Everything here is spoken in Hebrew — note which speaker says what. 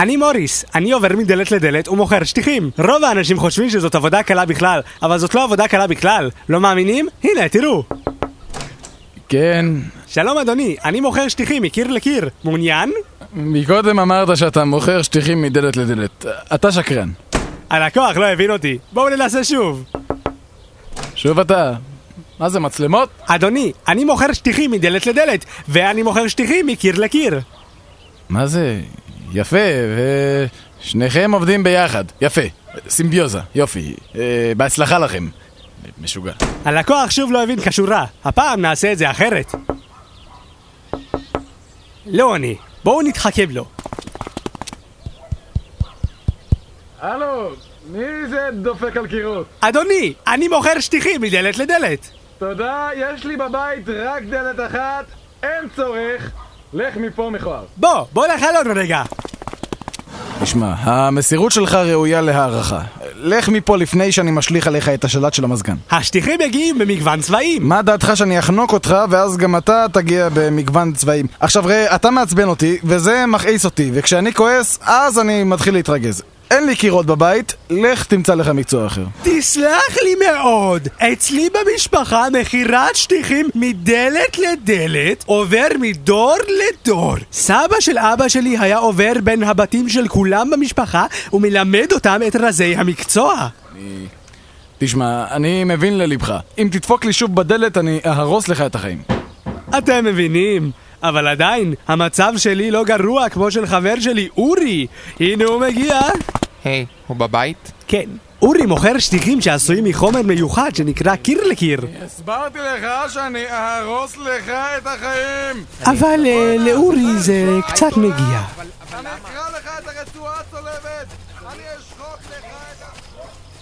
Speaker 1: אני מוריס, אני עובר מדלת לדלת ומוכר שטיחים. רוב האנשים חושבים שזאת עבודה קלה בכלל, אבל זאת לא עבודה קלה בכלל. לא מאמינים? הנה, תראו.
Speaker 2: כן,
Speaker 1: שלום אדוני, אני מוכר שטיחים מקיר לקיר. מעוניין?
Speaker 2: מקודם אמרת שאתה מוכר שטיחים מדלת לדלת. אתה שקרן.
Speaker 1: הלקוח לא הבין אותי. בואו ננסה שוב.
Speaker 2: שוב אתה. מה זה, מצלמות?
Speaker 1: אדוני, אני מוכר שטיחים מדלת לדלת, ואני מוכר שטיחים מקיר לקיר.
Speaker 2: מה זה? יפה, ושניכם עובדים ביחד. יפה. סימביוזה, יופי. אה, בהצלחה לכם. משוגע.
Speaker 1: הלקוח שוב לא הבין כשורה, הפעם נעשה את זה אחרת. לא אני, בואו נתחכם לו.
Speaker 3: הלו, מי זה דופק על קירות?
Speaker 1: אדוני, אני מוכר שטיחים מדלת לדלת.
Speaker 3: תודה, יש לי בבית רק דלת אחת, אין צורך. לך מפה מכוער.
Speaker 1: בוא, בוא לחלון רגע.
Speaker 2: תשמע, המסירות שלך ראויה להערכה. לך מפה לפני שאני משליך עליך את השלט של המזגן.
Speaker 1: השטיחים מגיעים במגוון צבעים.
Speaker 2: מה דעתך שאני אחנוק אותך, ואז גם אתה תגיע במגוון צבעים. עכשיו ראה, אתה מעצבן אותי, וזה מכעיס אותי, וכשאני כועס, אז אני מתחיל להתרגז. אין לי קירות בבית, לך תמצא לך מקצוע אחר.
Speaker 1: תסלח לי מאוד, אצלי במשפחה מכירת שטיחים מדלת לדלת עובר מדור לדור. סבא של אבא שלי היה עובר בין הבתים של כולם במשפחה ומלמד אותם את רזי המקצוע.
Speaker 2: תשמע, אני מבין ללבך. אם תדפוק לי שוב בדלת, אני אהרוס לך את החיים.
Speaker 1: אתם מבינים? אבל עדיין, המצב שלי לא גרוע כמו של חבר שלי, אורי. הנה הוא מגיע.
Speaker 4: היי, הוא בבית?
Speaker 1: כן. אורי מוכר שטיחים שעשויים מחומר מיוחד שנקרא קיר לקיר.
Speaker 3: הסברתי לך שאני אהרוס לך את החיים!
Speaker 1: אבל אה, לאורי זה קצת מגיע.
Speaker 3: אני אקרא לך את הרצועה הצולבת! אני אשחוק לך את ה...